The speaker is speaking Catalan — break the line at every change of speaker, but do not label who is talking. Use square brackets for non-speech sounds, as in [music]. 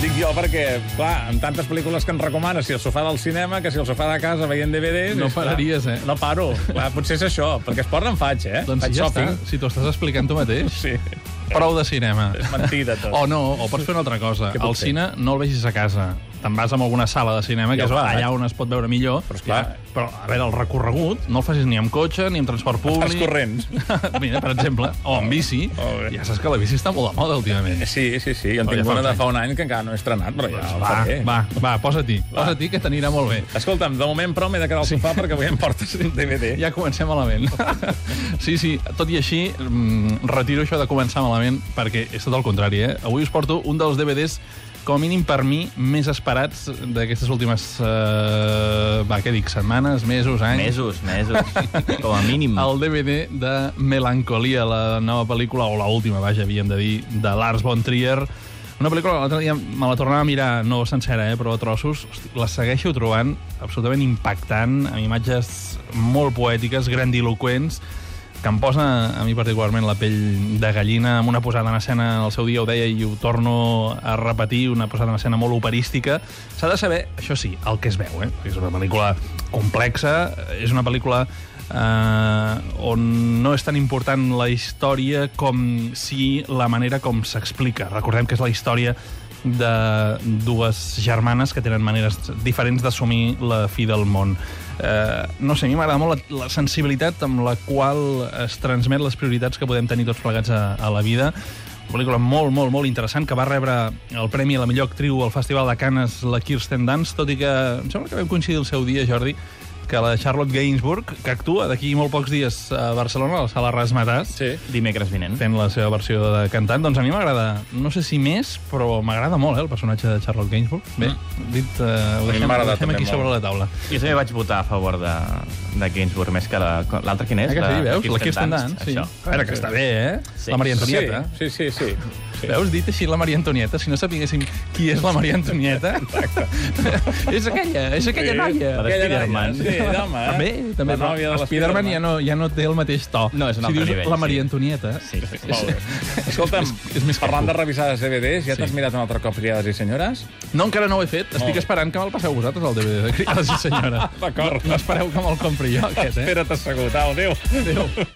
dic jo perquè, clar, amb tantes pel·lícules que ens recomanes, si el sofà del cinema, que si el sofà de casa veient DVDs...
No
és clar,
pararies, eh?
No paro. Clar, potser és això, perquè esport en faig, eh?
Doncs
faig
ja
shopping.
està, si t'ho estàs explicant tu mateix.
Sí,
Prou de cinema.
és mentida tot.
O no, o pots fer una altra cosa.
Què puc
El
fer?
cine no el vegis a casa. Te'n vas a alguna sala de cinema,
Ja
que és
ho he fet.
allà on es pot veure millor.
Però esclar.
Ja, Però, a veure, el recorregut no el facis ni amb cotxe, ni
[laughs]
amb transport públic.
Els corrents.
[laughs] Mira, per exemple, o amb bici.
Molt bé.
Ja saps que la bici està molt de moda últimament.
Sí, sí, sí, jo en
Però Oh,
tinc una de
ja fa uns anys. Doncs
fa un any que encara no he estrenat, però ja el
Va,
faré.
va, va, posa-t'hi. Posa-t'hi, que t'anirà molt bé.
Escolta'm, de moment, però, m'he de quedar al sofà perquè avui em portes un DVD.
Ja comencem malament. Sí, sí, tot i així, mm, retiro això de començar malament, perquè és tot el contrari, eh? Avui us porto un dels DVDs com a mínim per mi, més esperats d'aquestes últimes... Eh, va, què dic? Setmanes, mesos, anys?
Mesos, mesos, com a mínim.
El DVD de Melancolia, la nova pel·lícula, o la última, vaja, havíem de dir, de Lars von Trier. Una pel·lícula que l'altre dia me la tornava a mirar, no sencera, eh, però a trossos. Hosti, La segueixo trobant absolutament impactant, amb imatges molt poètiques, grandiloquents, que em posa, a mi particularment, la pell de gallina, amb una posada en escena, el seu dia ho deia i ho torno a repetir, una posada en escena molt operística. S'ha de saber, això sí, el que es veu, eh? Perquè és una pel·lícula complexa, és una pel·lícula eh, on no és tan important la història com si la manera com s'explica. Recordem que és la història de dues germanes que tenen maneres diferents d'assumir la fi del món. Eh, no sé, a mi m'agrada molt la, la sensibilitat amb la qual es transmet les prioritats que podem tenir tots plegats a, a la vida. Una pel·lícula molt, molt, molt interessant, que va rebre el Premi a la millor actriu al Festival de Canes, la Kirsten Dunst, tot i que em sembla que vam coincidir el seu dia, Jordi, que la Charlotte Gainsbourg, que actua d'aquí molt pocs dies a Barcelona, a la sala Rasmatàs,
Sí.
Dimecres vinent.
fent Mm. la seva versió de cantant, doncs a mi m'agrada, no sé si més, però m'agrada molt, eh, el personatge de Charlotte Gainsbourg. Bé, dit, eh,
Mm.
ho
mi
deixem, ho
m'agrada
deixem
també
aquí
molt.
sobre la taula.
Jo també vaig votar a favor de, de Gainsbourg, més que la- l'altra la, quina és?
Eh, que sí, veus? La
Kirsten
Kirsten Dunst, sí.
Això.
A veure, que està bé, eh?
Sí.
La Maria Antonieta.
Sí, sí, sí. sí.
Veus, dit així, la Maria Antonieta, si no sapiguéssim qui és la Maria Antonieta... és aquella, és aquella
Sí,
noia.
la de
aquella
Spiderman.
noia, Sí, home.
També, també.
La nòvia de
Spiderman, Spiderman ja, no, ja no té el mateix to.
No, és un
si
altre
dius
nivell,
la
sí.
Maria Antonieta...
Sí, sí, sí.
Molt bé. Escolta'm,
és més
parlant
capo.
de revisar les DVDs, ja
Sí.
t'has mirat un altre cop Criades i Senyores?
No, encara no ho he fet.
Molt
Estic
bé.
esperant que me'l passeu vosaltres, el DVD de Criades i Senyora.
[laughs] D'acord.
No, no espereu que me'l compri jo, aquest, eh?
Espera't assegut. Au, adéu.
Adéu.